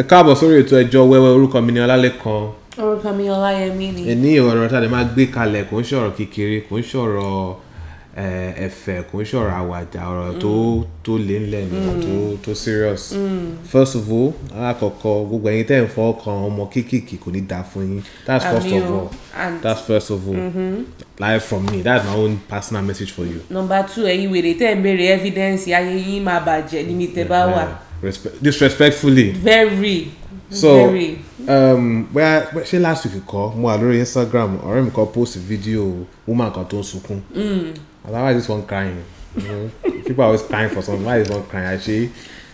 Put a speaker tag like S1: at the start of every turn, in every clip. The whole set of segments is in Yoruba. S1: ẹ káàbọ̀ sórí ètò ẹjọ́ wẹ́wẹ́ orúkọ mi ni ọlálẹ́kan
S2: orúkọ mi ọláyẹmí ni
S1: ẹní ọ̀rọ̀ tá a lè máa gbé kalẹ̀ kò ń ṣọ̀rọ̀ kékeré kò ń ṣọ̀rọ̀ eh, ẹ̀fẹ̀ kò ń ṣọ̀rọ̀ àwàdà ọ̀rọ̀ tó
S2: Mm.
S1: tó lé ńlẹ̀ ni tó tó serious first of all alákọ̀ọ́kọ́ gbogbo ẹ̀yin tẹ́ ń fọ́ kan ọmọ kéékèèké kò ní dáa fún yín that's first
S2: Àmì
S1: of
S2: o.
S1: all
S2: And- Mm-hmm.
S1: that's first of all live from me that's my own personal message for you.
S2: nọmba two ẹ̀yin wèrè tẹ́ ń béèrè evidence ayé yín máa bàjẹ́ níbi tẹ́ bá wà
S1: Eh, respect disrespectfully.
S2: very
S1: so
S2: very
S1: um bóyá bóyá- ṣé last week kọ mo wà lórí instagram ọ̀rẹ́ mi kan post video woman kan tó ń sunkún
S2: Mm.
S1: and why is this one crying you know, people are always crying for something why is this one crying and she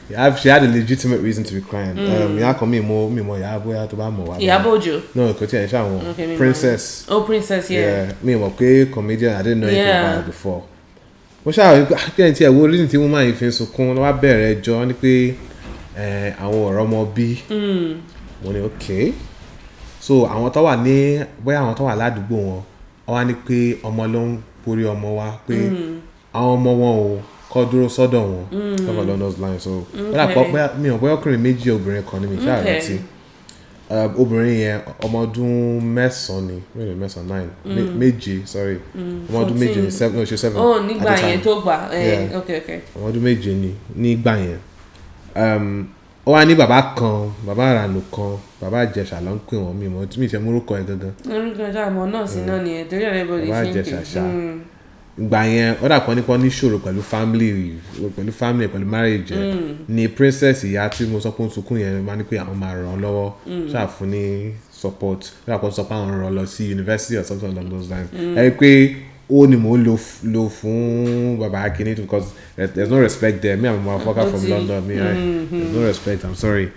S1: she had- she had a legitimate reason to be crying
S2: Mm.
S1: um, ìyá kan mi mo mi mo ìyá bóyá tó bá mọ̀ wá
S2: ìyábọ̀ òjò
S1: no kò tí ẹ̀ ṣe
S2: Okay, mi
S1: àwọn
S2: mọ̀.
S1: princess
S2: oh princess yeah,
S1: yeah mi mọ̀ pé comedian i didn't know anything
S2: Yeah.
S1: about her before mo ṣáà wí pé akẹ́yìn tí ẹ̀ wo reason tí woman yìí fi ń sunkún ló wá bẹ̀rẹ̀ ẹjọ́ ni pé eh, àwọn ọ̀rọ̀ ọmọ bí
S2: Hmm.
S1: mo ní ok so àwọn tó wà ní bóyá àwọn tó wà ládùúgbò wọn wọn wá ní pé ọmọ ló ń borí ọmọ wa pé
S2: Hmm.
S1: àwọn ọmọ wọn ò kọ́ dúró sọ́dọ̀ wọn lọ́kọ̀ lọ́dọ̀ line so bóyá kọ́ bóyá mi ò bóyá ọkùnrin méjì obìnrin kan ni mi ṣáà
S2: Okay.
S1: rántí um, obìnrin yẹn ọmọ ọdún mẹ́sàn-án ni mélòó ni mẹ́sàn-án nine mé- méje sorry ọmọ ọdún méje ni
S2: Mm. fourteen.
S1: seven no she was seven
S2: oh
S1: at the
S2: nígbà
S1: time
S2: yẹn tó gbà ẹ
S1: Yeah.
S2: ok ok
S1: ọmọ ọdún méje ni nígbà yẹn Um, ó wá ní bàbá kan bàbá àrànù kan bàbá àjẹsà ló ń pè wọ́n mi mọ́ tí mi ṣe múrúkọ ẹ̀ gangan
S2: orúkọ ẹ̀dá àmọ́ nọ́ọ̀sì náà nìyẹn torí ọ̀rẹ́ bọ̀dì
S1: Bàbá
S2: ṣe ń pè
S1: Ìjẹ̀ṣà ṣá.
S2: Mm.
S1: ìgbà yẹn ó dà kan nípa níṣòro pẹ̀lú family pẹ̀lú family pẹ̀lú marriage ẹ̀ ni princess ìyá tí mo sọ pé ó ń sunkún yẹn máa ní pé àwọn máa ràn án lọ́wọ́ ṣàfún ní support ó dà kan sọ pé àwọn ràn án lọ sí university or something along those lines ẹ rí i pé ó ni mò ń lo f- lo fún baba akini because there- there's no respect there me and my motherfucker
S2: Ó
S1: from
S2: ti-
S1: London me right there's no respect i'm sorry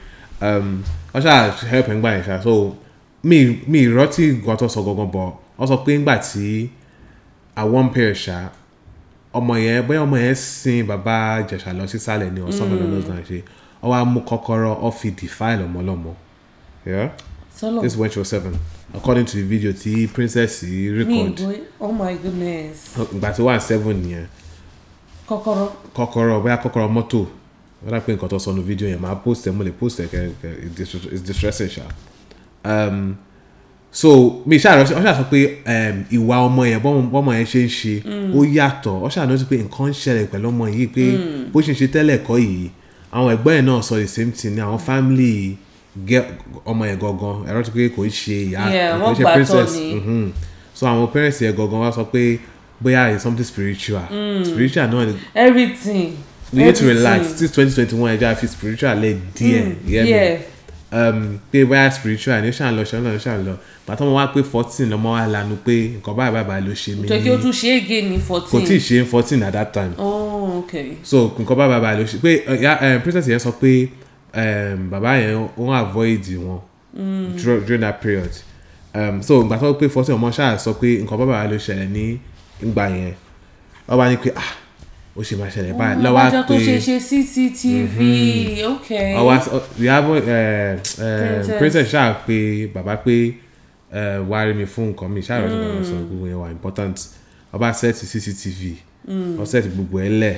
S1: um, wọ́n ṣáà help ẹ̀ ń gbà yẹn ṣá so mi mi ìrọ́tì nǹkan tó sọ gangan bọ̀ wọ́n sọ pé ńgbà tí àwọn pair ṣá ọmọ yẹn bóyá ọmọ yẹn sin bàbá jẹ̀ṣà lọ sísàlẹ̀ ni ọ̀sán ọmọ lọ́dún náà ṣe ọ wá mú kọ́kọ́rọ́ ọ fi defile ọmọlọ́mọ yeah?
S2: sọlọ
S1: this is when she was seven according to the video ti princess yìí
S2: mi
S1: record
S2: ìgbó oh my goodness
S1: ìgbà tí wà seven nìyẹn
S2: kọ́kọ́rọ́
S1: kọ́kọ́rọ́ bóyá kọ́kọ́rọ́ mọ́tò wọ́n dà pé nǹkan tó sọnù fídíò yẹn máa post ẹ̀ mo lè post ẹ̀ kẹ́ kẹ́ it's distres- it's distressing ṣá um, so mi ṣáà rọ ọ ṣáà sọ pé um, ìwà ọmọ yẹn bọ́mọ bọ́mọ yẹn ṣe ń ṣe ó yàtọ̀ ọ ṣáà nọ́ọ́sì pé nǹkan ń ṣẹlẹ̀ pẹ̀lú ọmọ yìí pé bó ṣe ń ṣe tẹ́lẹ̀ kọ́ yìí àwọn ẹ̀gbọ́n yẹn náà sọ the same thing ni àwọn family gẹ- ọmọ yẹn gangan ẹ̀rọ ti pé kò ń ṣe ìyá
S2: Yeah,
S1: kò
S2: wọ́n
S1: ń ṣe
S2: gbà tọ́
S1: princess
S2: ni.
S1: Mhm. so àwọn parents yẹn gangan wá sọ pé bóyá it's something spiritual
S2: Mm.
S1: spiritual náà ni
S2: everything
S1: we need to
S2: everything. Mm,
S1: relax since twenty twenty one ẹja fi spiritual lẹ díẹ̀ yẹ mi
S2: yeah
S1: um, pé bóyá spiritual ni ó ṣàn lọ ṣàn lọ ṣàn lọ bàtà wọn wá pé fourteen lọmọ wa lanu pé nǹkan báyìí báyìí báyìí ló ṣe mí
S2: tó kí ó tún ṣe é again ní
S1: kò
S2: fourteen
S1: tí ì ṣe fourteen at that time
S2: oh ok
S1: so nǹkan báyìí báyìí báyìí ló ṣe pé eh, ya, eh, princess yẹn sọ pé um, bàbá yẹn wọn avoid wọn
S2: Mm.
S1: dro- during that period um, so ìgbà tó pé fourteen ọmọ ṣáà sọ pé nǹkan báyìí báyìí ló ṣẹlẹ̀ ní ìgbà yẹn ọba ni pé ah ó ṣe máa ṣẹlẹ̀ báyìí lọ́wọ́ á
S2: ọjọ́ tó
S1: pé
S2: ṣe ṣe cctv
S1: Mm-hmm.
S2: ok
S1: ọwọ ìyàbọ eh, princess ṣáà pé bàbá pé eh, wá rí mi fún nǹkan mi ṣáà rẹ̀ ṣùgbọ́n sọ
S2: Mm.
S1: gbogbo yẹn wà important ọba set cctv
S2: Mm.
S1: ọ set gbogbo ẹ lẹ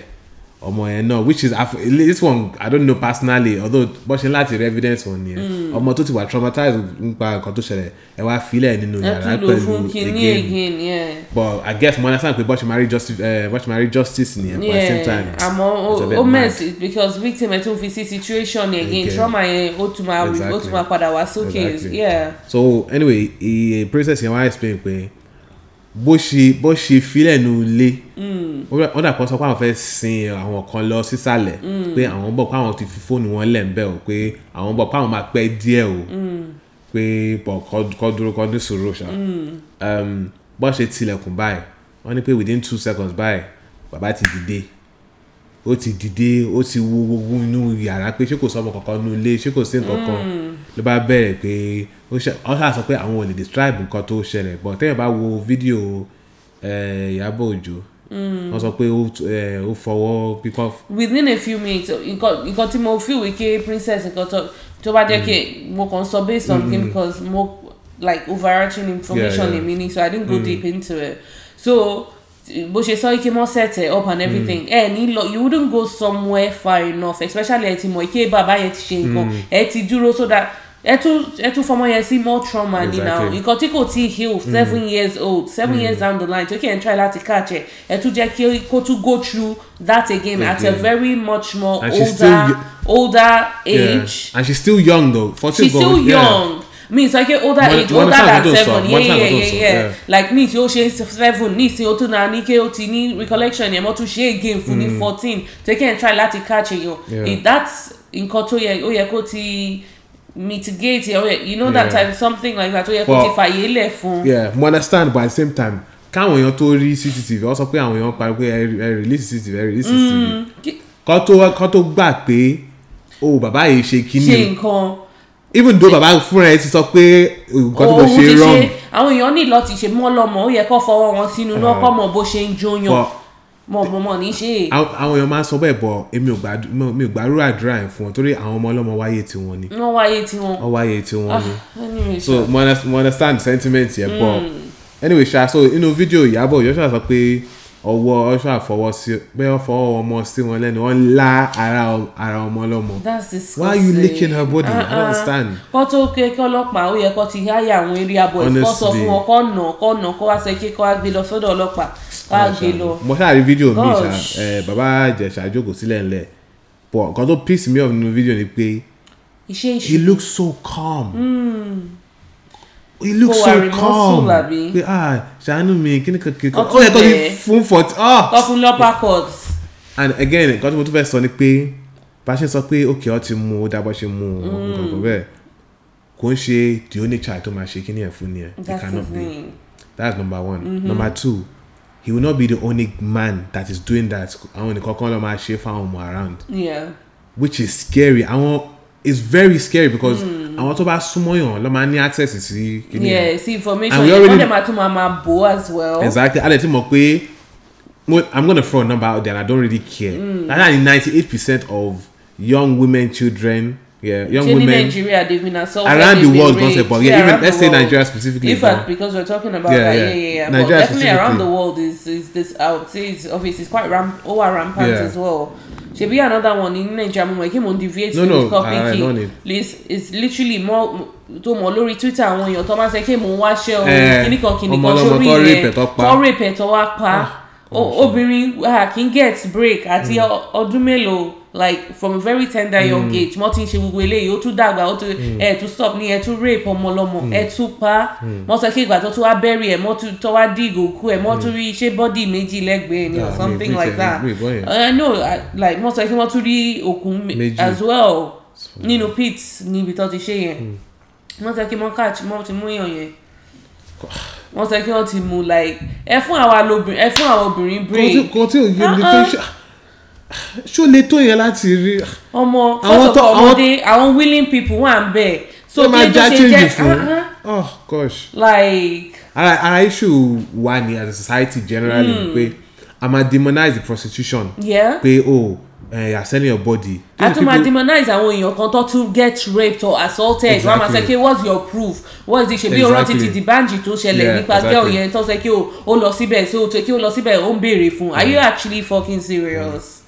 S1: ọmọ yẹn náà which is af- this one i don't know personally although bó ṣe láti rí evidence wọn nìyẹn
S2: Mm.
S1: ọmọ tó ti wà traumatized nípa nǹkan tó ṣẹlẹ̀ ẹ wá filẹ̀ nínú
S2: ẹ
S1: yàrá
S2: tún lò fún
S1: pẹ̀lú
S2: kinní
S1: again
S2: again yeah.
S1: but i guess mo understand pé bó ṣe máa rí justice eh, bó ṣe máa rí justice nìyẹn but at the same time
S2: àmọ́
S1: it's a
S2: ó-
S1: bit
S2: ó
S1: mad.
S2: mẹ́sì oh, because victim ẹ̀ tún fi sí situation yẹn again
S1: Again.
S2: trauma yẹn ó tún máa ó
S1: Exactly.
S2: tún máa padà wá sókè
S1: Exactly.
S2: yeah.
S1: so anyway iye princess yẹn wá explain pé bó ṣe bó ṣe filẹ̀ nu ilé wọ́n dà kọ́ sọ pé àwọn fẹ́ sin àwọn kan lọ sísàlẹ̀ pé àwọn bọ̀ pé àwọn ti fi fóònù wọn lẹ̀ ń bẹ̀ o pé àwọn bọ̀ pé àwọn máa pẹ́ díẹ̀ o pé bọ̀ kọ́- kọ́ dúró kọ́ ní sùúrù ṣá Um, bó ṣe tilẹ̀kùn báyìí wọ́n ní pé within two seconds báyìí bàbá ti dìde ó ti dìde ó ti wo gbogbo inú yàrá pé ṣé kò sọmọ kankan nínú ilé ṣé kò sí nǹkan kan
S2: Mm.
S1: ló bá bẹ̀rẹ̀ pé ó ṣe- ó ṣáà sọ pé àwọn ò lè describe nǹkan tó ṣẹlẹ̀ but téèyàn bá wo fídíò eh, Ìyábọ̀ Òjó
S2: Mm.
S1: wọ́n sọ pé ó tu- eh, ó fọwọ́ pípọ́
S2: within a few minutes nǹkan nǹkan tí mo feel wike princess nǹkan tó tó bá jẹ́ kí
S1: Mm.
S2: mo kàn sọ based on him because mo like overarching information
S1: Mm-hmm. Yeah, Mm. yeah.
S2: èmi ni so I didn't go deep into it so bó ṣe sọ ike mọ sẹtẹ up
S1: Mm.
S2: and everything ẹ ní lọ you wouldn't go somewhere far enough especially ẹ ti mọ ike bàbá yẹn ti ṣe
S1: Mm.
S2: nǹkan ẹ ti dúró so that ẹ tún ẹ tún fọmọ yẹn sí more trauma ni na
S1: Exactly.
S2: nǹkan tí kò tí ì heal
S1: Mm.
S2: seven years old seven years down the line tó kí ẹ n try láti catch ẹ ẹ tún jẹ kí kó tún go through that again at a
S1: Again.
S2: very much more
S1: And she's still
S2: older older
S1: Yeah.
S2: age
S1: And she's still young though. 14
S2: she's still
S1: going- yeah.
S2: young means like eh, older
S1: Mwana-
S2: age older
S1: mwana
S2: than
S1: tano to
S2: seven
S1: sọ,
S2: yeah
S1: mwana tano
S2: yeah
S1: to
S2: yeah
S1: sọ,
S2: yeah
S1: yeah.
S2: like means yóò ṣe seven nísìnyí ó tún náà ní kí ó ti ní recollection yẹn mọ́ tún ṣe again fún ní fourteen take care and try láti catch èèyàn
S1: Mm. Yeah.
S2: if that's nǹkan tó yẹ ó yẹ kó ti mitigate yẹ ó yẹ you know that
S1: Yeah.
S2: type something like that ó yẹ kó
S1: Well,
S2: ti fàyè lẹ̀ fún
S1: yeah mo understand but at the same time káwọn èèyàn tó rí cctv wọn sọ pé àwọn èèyàn parí pé ẹ ẹ release cctv ẹ release cctv
S2: Kí-
S1: kọ́ tó kọ́ tó gbà pé o bàbá yìí ṣe
S2: ṣe
S1: kíní o
S2: nǹkan
S1: even though bàbá fúnra ẹ ti sọ pé nǹkan tó kò
S2: ohun
S1: ṣe
S2: ti
S1: wrong
S2: ṣe àwọn èèyàn ní láti ṣe mọ́ lọ́mọ ó yẹ kó fọwọ́ wọn sínú náà kọ́ mọ̀ bó ṣe ń jóyàn
S1: Uh-huh. but
S2: mọ̀ mọ̀ mọ̀ ní ṣe é.
S1: àwọn àwọn èèyàn máa ń sọ bẹ́ẹ̀ bọ̀ èmi ò gbàdú- mi ò gbàrú àdúrà yẹn fún wọn torí àwọn ọmọ ọlọ́mọ wáyé tiwọn ni
S2: wọ́n wáyé tiwọn.
S1: wọ́n wáyé tiwọn
S2: Ah.
S1: ni
S2: anyway
S1: Oh, so mo understand, mo understand sentiment yẹn but
S2: Hmm.
S1: anyway ṣá so inú fídíò ìyábọ̀ yọ́ṣà sọ pé ọwọ́ ọṣà fọwọ́ sí pé wọ́n fọwọ́ ọmọ sí wọn lẹ́nu wọ́n ń lá ara ọ- ara ọmọ ọlọ́mọ
S2: that's disgusting.
S1: Why are you licking her body? I don't understand.
S2: kọ́ tó ké kọ́ ọlọ́pàá ó yẹ kọ́ ti háyà àwọn area boys kọ́ sọ
S1: Honestly.
S2: fún wọn kọ́ nà kọ́ nà kọ́ wá sẹ́kẹ́ kọ́ wá gbé lọ sọ́dọ̀ ọlọ́pàá kọ́ wá gbé lọ.
S1: mo ṣáà rí fídíò mi ṣá
S2: Gosh.
S1: ẹ bàbá ìjẹ̀ṣà jókòó sílẹ̀ ńlẹ̀ but nǹkan tó piss me off nínú fídíò ni pé
S2: iṣẹ́
S1: he
S2: ìṣe
S1: looks so calm. he looks
S2: Kò wà
S1: so
S2: remorseful,
S1: calm
S2: àbí?
S1: pé ah ṣàánú mi kíní kankan
S2: Wọ́n
S1: ó yẹ kó
S2: tún
S1: ti
S2: bẹ̀ ẹ́.
S1: fún forty ah
S2: kọ́ fún lọ́pàá court.
S1: and again nǹkan tí mo tún fẹ́ sọ ni pé bá a ṣe sọ pé òkè ọ ti mu ó dábọ̀ ṣe mu ó nǹkan kan bẹ́ẹ̀ kò ń ṣe the only child tó máa ṣe kíní ẹ̀ fún ni ẹ̀ it
S2: that's
S1: cannot
S2: his
S1: be
S2: name.
S1: that's number one number two he will not be the only man that is doing that àwọn nìkan kan ló máa ṣe fáwọn ọmọ around
S2: yeah
S1: which is scary àwọn it's very scary because
S2: Hmm.
S1: àwọn tó bá súnmọ́ yàn ló máa ní access sí kíní ẹ̀
S2: yeah see information
S1: And we
S2: yẹn
S1: already-
S2: wọ́n dẹ̀ máa tún máa máa bò as well.
S1: exactly alẹ ti mọ pé mo i'm gonna throw a number out there and i don't really care
S2: Hmm.
S1: mm. that's like ninety-eight percent of young women children yeah, young
S2: Ṣé ní
S1: women
S2: Nigeria they been assaulted
S1: around the
S2: they've been
S1: world gan se
S2: raped?
S1: but yeah, even
S2: around the
S1: let's say
S2: world.
S1: nigeria specifically
S2: in fact because we're talking about
S1: Yeah,
S2: that
S1: yeah.
S2: yeah yeah yeah, but
S1: Nigeria
S2: definitely around
S1: specifically.
S2: the world is is this i would say it's obvious it's quite ram over rampant
S1: Yeah.
S2: as well shebi another one in nigeria mo came on deviate
S1: No,
S2: with
S1: no, I- I
S2: copy
S1: know it.
S2: it's, it's literally more tó mọ lórí twitter àwọn èèyàn tó máa ṣe kí mò ń wáṣẹ o
S1: Eh,
S2: kíní kan kíní
S1: ọmọ
S2: kan
S1: ọlọ́mọ
S2: sórí
S1: tó rape ẹ̀
S2: ilẹ̀
S1: tó pa.
S2: tó rape ẹ̀ tó wá pa
S1: Ah, Hmm.
S2: O- obìnrin ah, kì í get break àti ọ- ọdún mélòó like from a very tender young age wọ́n ti ń ṣe gbogbo eléyìí ó tún dàgbà ó tún
S1: Hmm.
S2: ẹ̀ tún stop ní ẹ̀ tún rape ọmọlọmọ ẹ̀ tún pa
S1: Hmm.
S2: wọ́n sọ pé ìgbà tó tún wá bẹ́rì ẹ̀ mọ́ tún tọ́ wá dig òkú ẹ̀ mọ́ tún rí ṣé bọ́dì méjì lẹ́gbẹ̀ẹ́ ni
S1: Ah,
S2: or
S1: mi-
S2: something
S1: mi
S2: like
S1: tẹ̀lé-
S2: that
S1: mi gbọ́ yẹn.
S2: I know I- like wọ́n sọ pé wọ́n tún rí òkú me-
S1: Méjì.
S2: as well nínú pit níbi tó ti ṣe yẹn
S1: Hmm.
S2: wọ́n sọ pé wọ́n catch wọ́n ti mú èèyàn yẹn wọ́n sọ pé wọ́n ti mú like ẹ fún àwa lóbìnrin ẹ fún àwọn obìnrin break
S1: kò tí ò yé mi pé
S2: Uh-uh.
S1: ṣá- ṣó le tó yẹn láti rí
S2: ọmọ
S1: Àwọn
S2: fọsọ
S1: tó- àwọn-
S2: ọmọdé àwọn willing people wà ń bẹ so
S1: ṣé máa
S2: kí ló
S1: já
S2: ṣe
S1: change
S2: jẹ
S1: fún
S2: ah,
S1: oh gosh.
S2: like
S1: ara ara issue wa ni as a society generally
S2: Hmm.
S1: mm. pé a máa demonize the prostitution
S2: yeah
S1: pé oh eh, you are selling your body.
S2: a
S1: These
S2: tún máa
S1: people-
S2: demonize àwọn èèyàn kan tó tún get raped or assaulted wọ́n á máa sọ pé
S1: Exactly.
S2: what's your proof what's the ṣe bí ọ̀rọ̀ ti ti
S1: Exactly.
S2: dìbànjì tó ṣẹlẹ̀
S1: Yeah,
S2: nípa girl
S1: exactly.
S2: yẹn tó sọ pé o ó lọ síbẹ̀ so o tó kí o lọ síbẹ̀ ó ń béèrè fún are
S1: Mm.
S2: you actually fucking serious.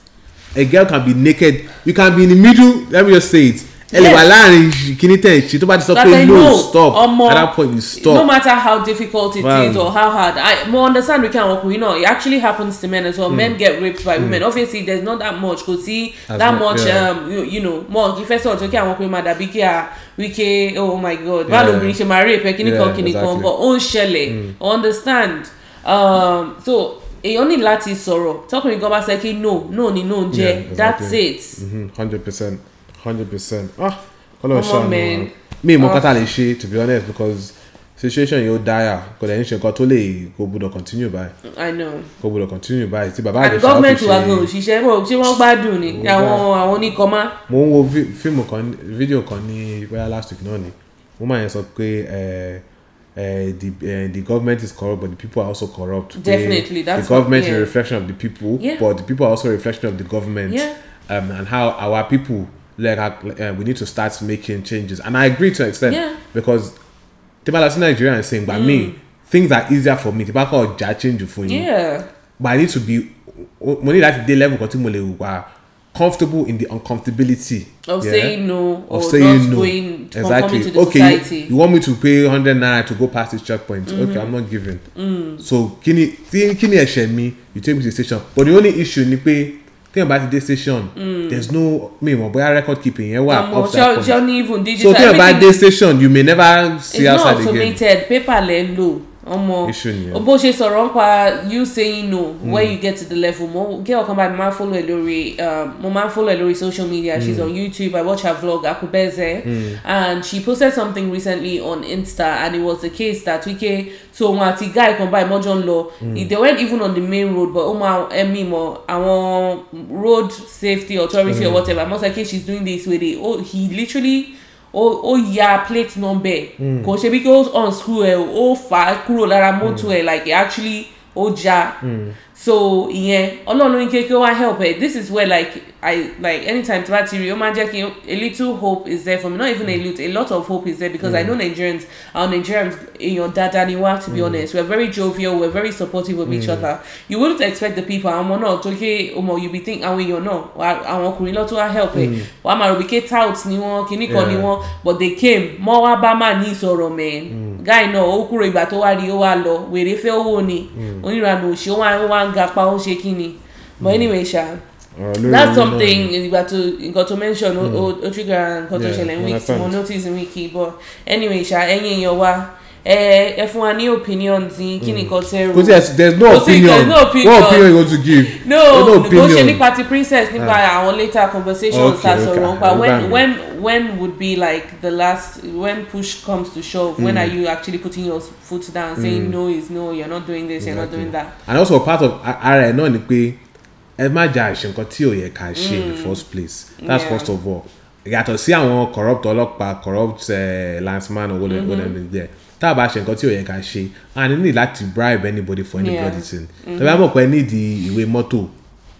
S1: a girl can be naked you can be in the middle let me just say it ẹlẹwà láàrin kìíní tẹ̀ ṣe tó bá ti sọ
S2: That I
S1: pé no
S2: know,
S1: stop
S2: ọmọ,
S1: at that point you
S2: no
S1: stop
S2: matter how difficult it
S1: Wow.
S2: is or how hard i mo understand we can work with you know it actually happens to men as
S1: Hmm.
S2: well men get raped by women obviously there's not that much kò sí
S1: As
S2: that
S1: much,
S2: much
S1: yeah.
S2: um, you, you know more ìfẹ́ sọ̀rọ̀ tó kí àwọn ọkùnrin máa dàbí kí a wíkẹ́ ah, oh my god
S1: Yeah.
S2: báwo lobìnrin ṣe máa rape ẹ kíní kan
S1: Yeah,
S2: kíní kan
S1: exactly. Hmm.
S2: but ó ń ṣẹlẹ̀ understand um, so èèyàn ní láti sọ̀rọ̀ tọkùnrin gan bá sẹ́ kí no no ni no ń jẹ́
S1: Yeah, exactly.
S2: that's it
S1: Mm-hmm, hundred percent hundred percent ah kọlọ
S2: Come on,
S1: ṣàánú
S2: man. Ah.
S1: wa mi ìmọ̀ kátà lè ṣe to be honest because situation yóò dáyà kò lẹ́yìn ṣe nǹkan tó lè kò gbọdọ̀ continue báyìí
S2: i know.
S1: kò gbọdọ̀ continue báyìí tí bàbá
S2: àti
S1: àjọṣe á
S2: gọ́ọ̀mẹ̀ntì
S1: fi
S2: wa
S1: ṣe
S2: gan òṣìṣẹ́ mọ̀ ṣé wọ́n gbádùn ni
S1: Wọ́n
S2: àwọn àwọn oníkọ́má
S1: mo ń wo fí- fíìmù kan ní- fídíò kan ní bóyá last week náà ni wọ́n máa yẹn sọ pé eh, eh, the eh, the government is corrupt but the people are also corrupt. Pé
S2: Definitely, that's
S1: The government
S2: what-
S1: is a
S2: yeah.
S1: reflection of the people
S2: Yeah.
S1: but the people are also a reflection of the government
S2: Yeah.
S1: um, and how our people like uh, we need to start making changes and I agree to an extent
S2: Yeah. Mm.
S1: because tí bá lọ sí Nigeria and saying gba mi things are easier for me tí bá kọ̀ já change fún yín
S2: yeah
S1: but i need to be o- mo ní láti dé level kan tí mo lè wà comfortable in the uncomfortability.
S2: of
S1: yeah?
S2: saying no or
S1: of
S2: not
S1: saying no
S2: going to
S1: exactly
S2: conforming to the
S1: okay you-
S2: society. Mm-hmm.
S1: you want me to pay hundred naira to go past this checkpoint mm -hmm. okay i'm not giving mm. so kini ti- kini ẹsẹ mi you take me to the station but the only issue ni pé téèyàn bá ti dé station mm. there's no mi ò mọ̀ bóyá record keeping yẹn wà
S2: Àmọ́
S1: up to that
S2: ṣé
S1: point
S2: ṣé ó ní even digital
S1: so téèyàn bá
S2: everything
S1: dé station you may never see
S2: it's not
S1: outside again
S2: automated paper lẹ ń lò ọmọ
S1: Issue Hmm. nìyẹn.
S2: bó ṣe sọ̀rọ̀ ń pa you saying no when you get to the level mo gẹ́ ọ̀kan báyìí mo máa ń follow ẹ̀ lórí um, mo máa ń follow ẹ̀ lórí social media
S1: Hmm.
S2: she's on youtube i watch her vlog akubeze and she posted something recently on insta and it was the case that wike so òun àti guy kan báyìí mọ́jọ́ ń lọ
S1: Hmm.
S2: they weren't even on the main road but òun àwọn ẹ̀mí mọ̀ àwọn road safety authority
S1: Hmm.
S2: or whatever mọ́sá kí she's doing this way they oh he literally ó ó ya plate number kò ṣe bí kí ó unscrew ẹ ó fà á kúrò lára mọ́tò ẹ like actually ó já so ìyẹn ọlọ́run ló ní kí kí ó wá help ẹ this is where like i like anytime tí wàá ti rí ó máa ń jẹ́ kí a little hope is there for me not even a little a lot of hope is there because mm. i know nigerians our nigerians èèyàn dáadáa ni wá to be mm. honest we are very jovial we are very supportive of mm. each other you wouldnt expect the people àwọn ọmọ náà tó ké ọmọ you be think àwọn èèyàn náà wà- àwọn ọkùnrin lọ́tún wá help ẹ wàá máa rò bí ké tout ni wọ́n kíní kan ni
S1: Yeah.
S2: wọ́n wọn but they came mọ wá bá má ní ìsọ̀rọ̀ mẹ́
S1: Mm.
S2: guy náà ó kúrò ìgbà tó wá rí ó wá lọ wèrè fẹ́ owó ni
S1: Mm.
S2: oníranú òṣì ó wá ó wá ń ga pa ó ń ṣe kí ni but anyway ṣá
S1: ọ̀rọ̀ lórí oyún Mm.
S2: that's
S1: náà Mm.
S2: something ìgbà tó nǹkan tó mention ó- ó ó trigger nǹkan tó
S1: Yeah,
S2: ṣẹlẹ̀
S1: I
S2: week tí mo
S1: understand.
S2: notice week yìí but anyway ṣá ẹ̀yin èèyàn wa ẹ ẹ fún wa ní opinion yín kí nìkan tẹ́ ro
S1: Mm. kò sí ẹsẹ there's no
S2: Kò sí-
S1: opinion
S2: there's no opinion.
S1: what opinion you want to give
S2: no
S1: There's
S2: kò ṣe nípa ti princess nípa àwọn later conversations
S1: Ah. Okay,
S2: ta sọ̀rọ̀
S1: okay.
S2: nípa
S1: Ó bá
S2: when
S1: mi.
S2: when when would be like the last when push comes to shove
S1: Mm.
S2: when are you actually putting your foot down saying no is no you're not doing this you're not doing that
S1: and also part of a- ara ẹ náà ni pé ẹ má jà àṣẹ nǹkan tí ò yẹ ká ṣe in the first place that's
S2: Mm. Yeah.
S1: yeah. first of all yàtọ̀ sí àwọn corrupt ọlọ́pàá corrupt uh, landsman owó
S2: Mm-hmm.
S1: lẹ́nu jẹ́ tá a bá ṣe nǹkan tí ò yẹ ká ṣe a ní ní láti bribe anybody for any
S2: Yeah. Mm-hmm.
S1: bloody thing tọ́bí àmọ̀ pé ẹ ní ìdí ìwé mọ́tò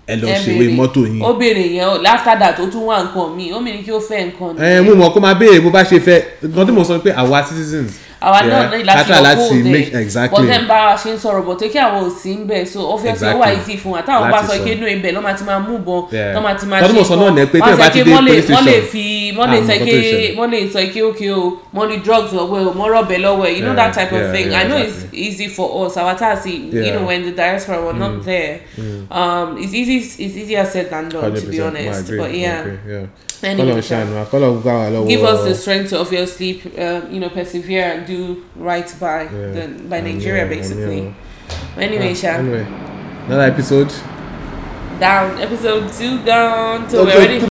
S1: ẹ lọ
S2: Ẹ
S1: ṣe ìwé
S2: béèrè.
S1: mọ́tò yín
S2: ó béèrè yẹn o after that ó tún wá nǹkan míì ó mìíràn kí ó fẹ́ nǹkan
S1: ẹ mú mọ̀ kó máa béèrè bó bá ṣe fẹ́ nǹkan tí mo sọ pé àwa citizens
S2: àwa
S1: yeah,
S2: náà ní láti
S1: kátà
S2: lọ kó
S1: make
S2: òde but
S1: exactly
S2: then bá a ṣe ń sọ̀rọ̀ bọ̀ tó kí àwọn ò sí ń bẹ̀ so obviously ó wà
S1: Exactly.
S2: easy fún wa táwọn bá
S1: Láti
S2: sọ
S1: sọ.
S2: pé inú ibẹ̀ ló máa ti máa mú bọ̀
S1: Yeah.
S2: tó máa ti máa ṣe
S1: Tọ́dún mo sọ náà ní pé tí ẹ bá ti dé police
S2: wọ́n lè
S1: station,
S2: fi wọ́n lè
S1: àmọ́
S2: sọ
S1: nǹkan tó
S2: pé
S1: ṣẹlẹ̀.
S2: wọ́n lè sọ pé okay o mo ní drugs lọ́wọ́ ẹ̀ o mo rọ̀bẹ̀ lọ́wọ́ ẹ̀ you know
S1: Yeah,
S2: that type of
S1: yeah,
S2: thing
S1: yeah,
S2: I know it's
S1: exactly.
S2: easy for us our taxi you
S1: Yeah. Mm.
S2: know when the diaspora were not there um it's easy it's easier said than done Oh, to be
S1: 100%, mo
S2: honest
S1: agree,
S2: but
S1: mo
S2: yeah
S1: agree, yeah.
S2: Anyway,
S1: kọ́lọ̀ ń
S2: sir.
S1: ṣàánú wa, kọ́lọ̀ ń gbà wá lọ́wọ́
S2: give us the strength to obviously um, you know persevere and do right by
S1: Yeah.
S2: the, by
S1: And,
S2: Nigeria
S1: yeah, and,
S2: basically.
S1: yeah.
S2: Anyway,
S1: Ah,
S2: Sha,
S1: anyway, another episode.
S2: down episode two gone. So
S1: Don't
S2: we
S1: go
S2: already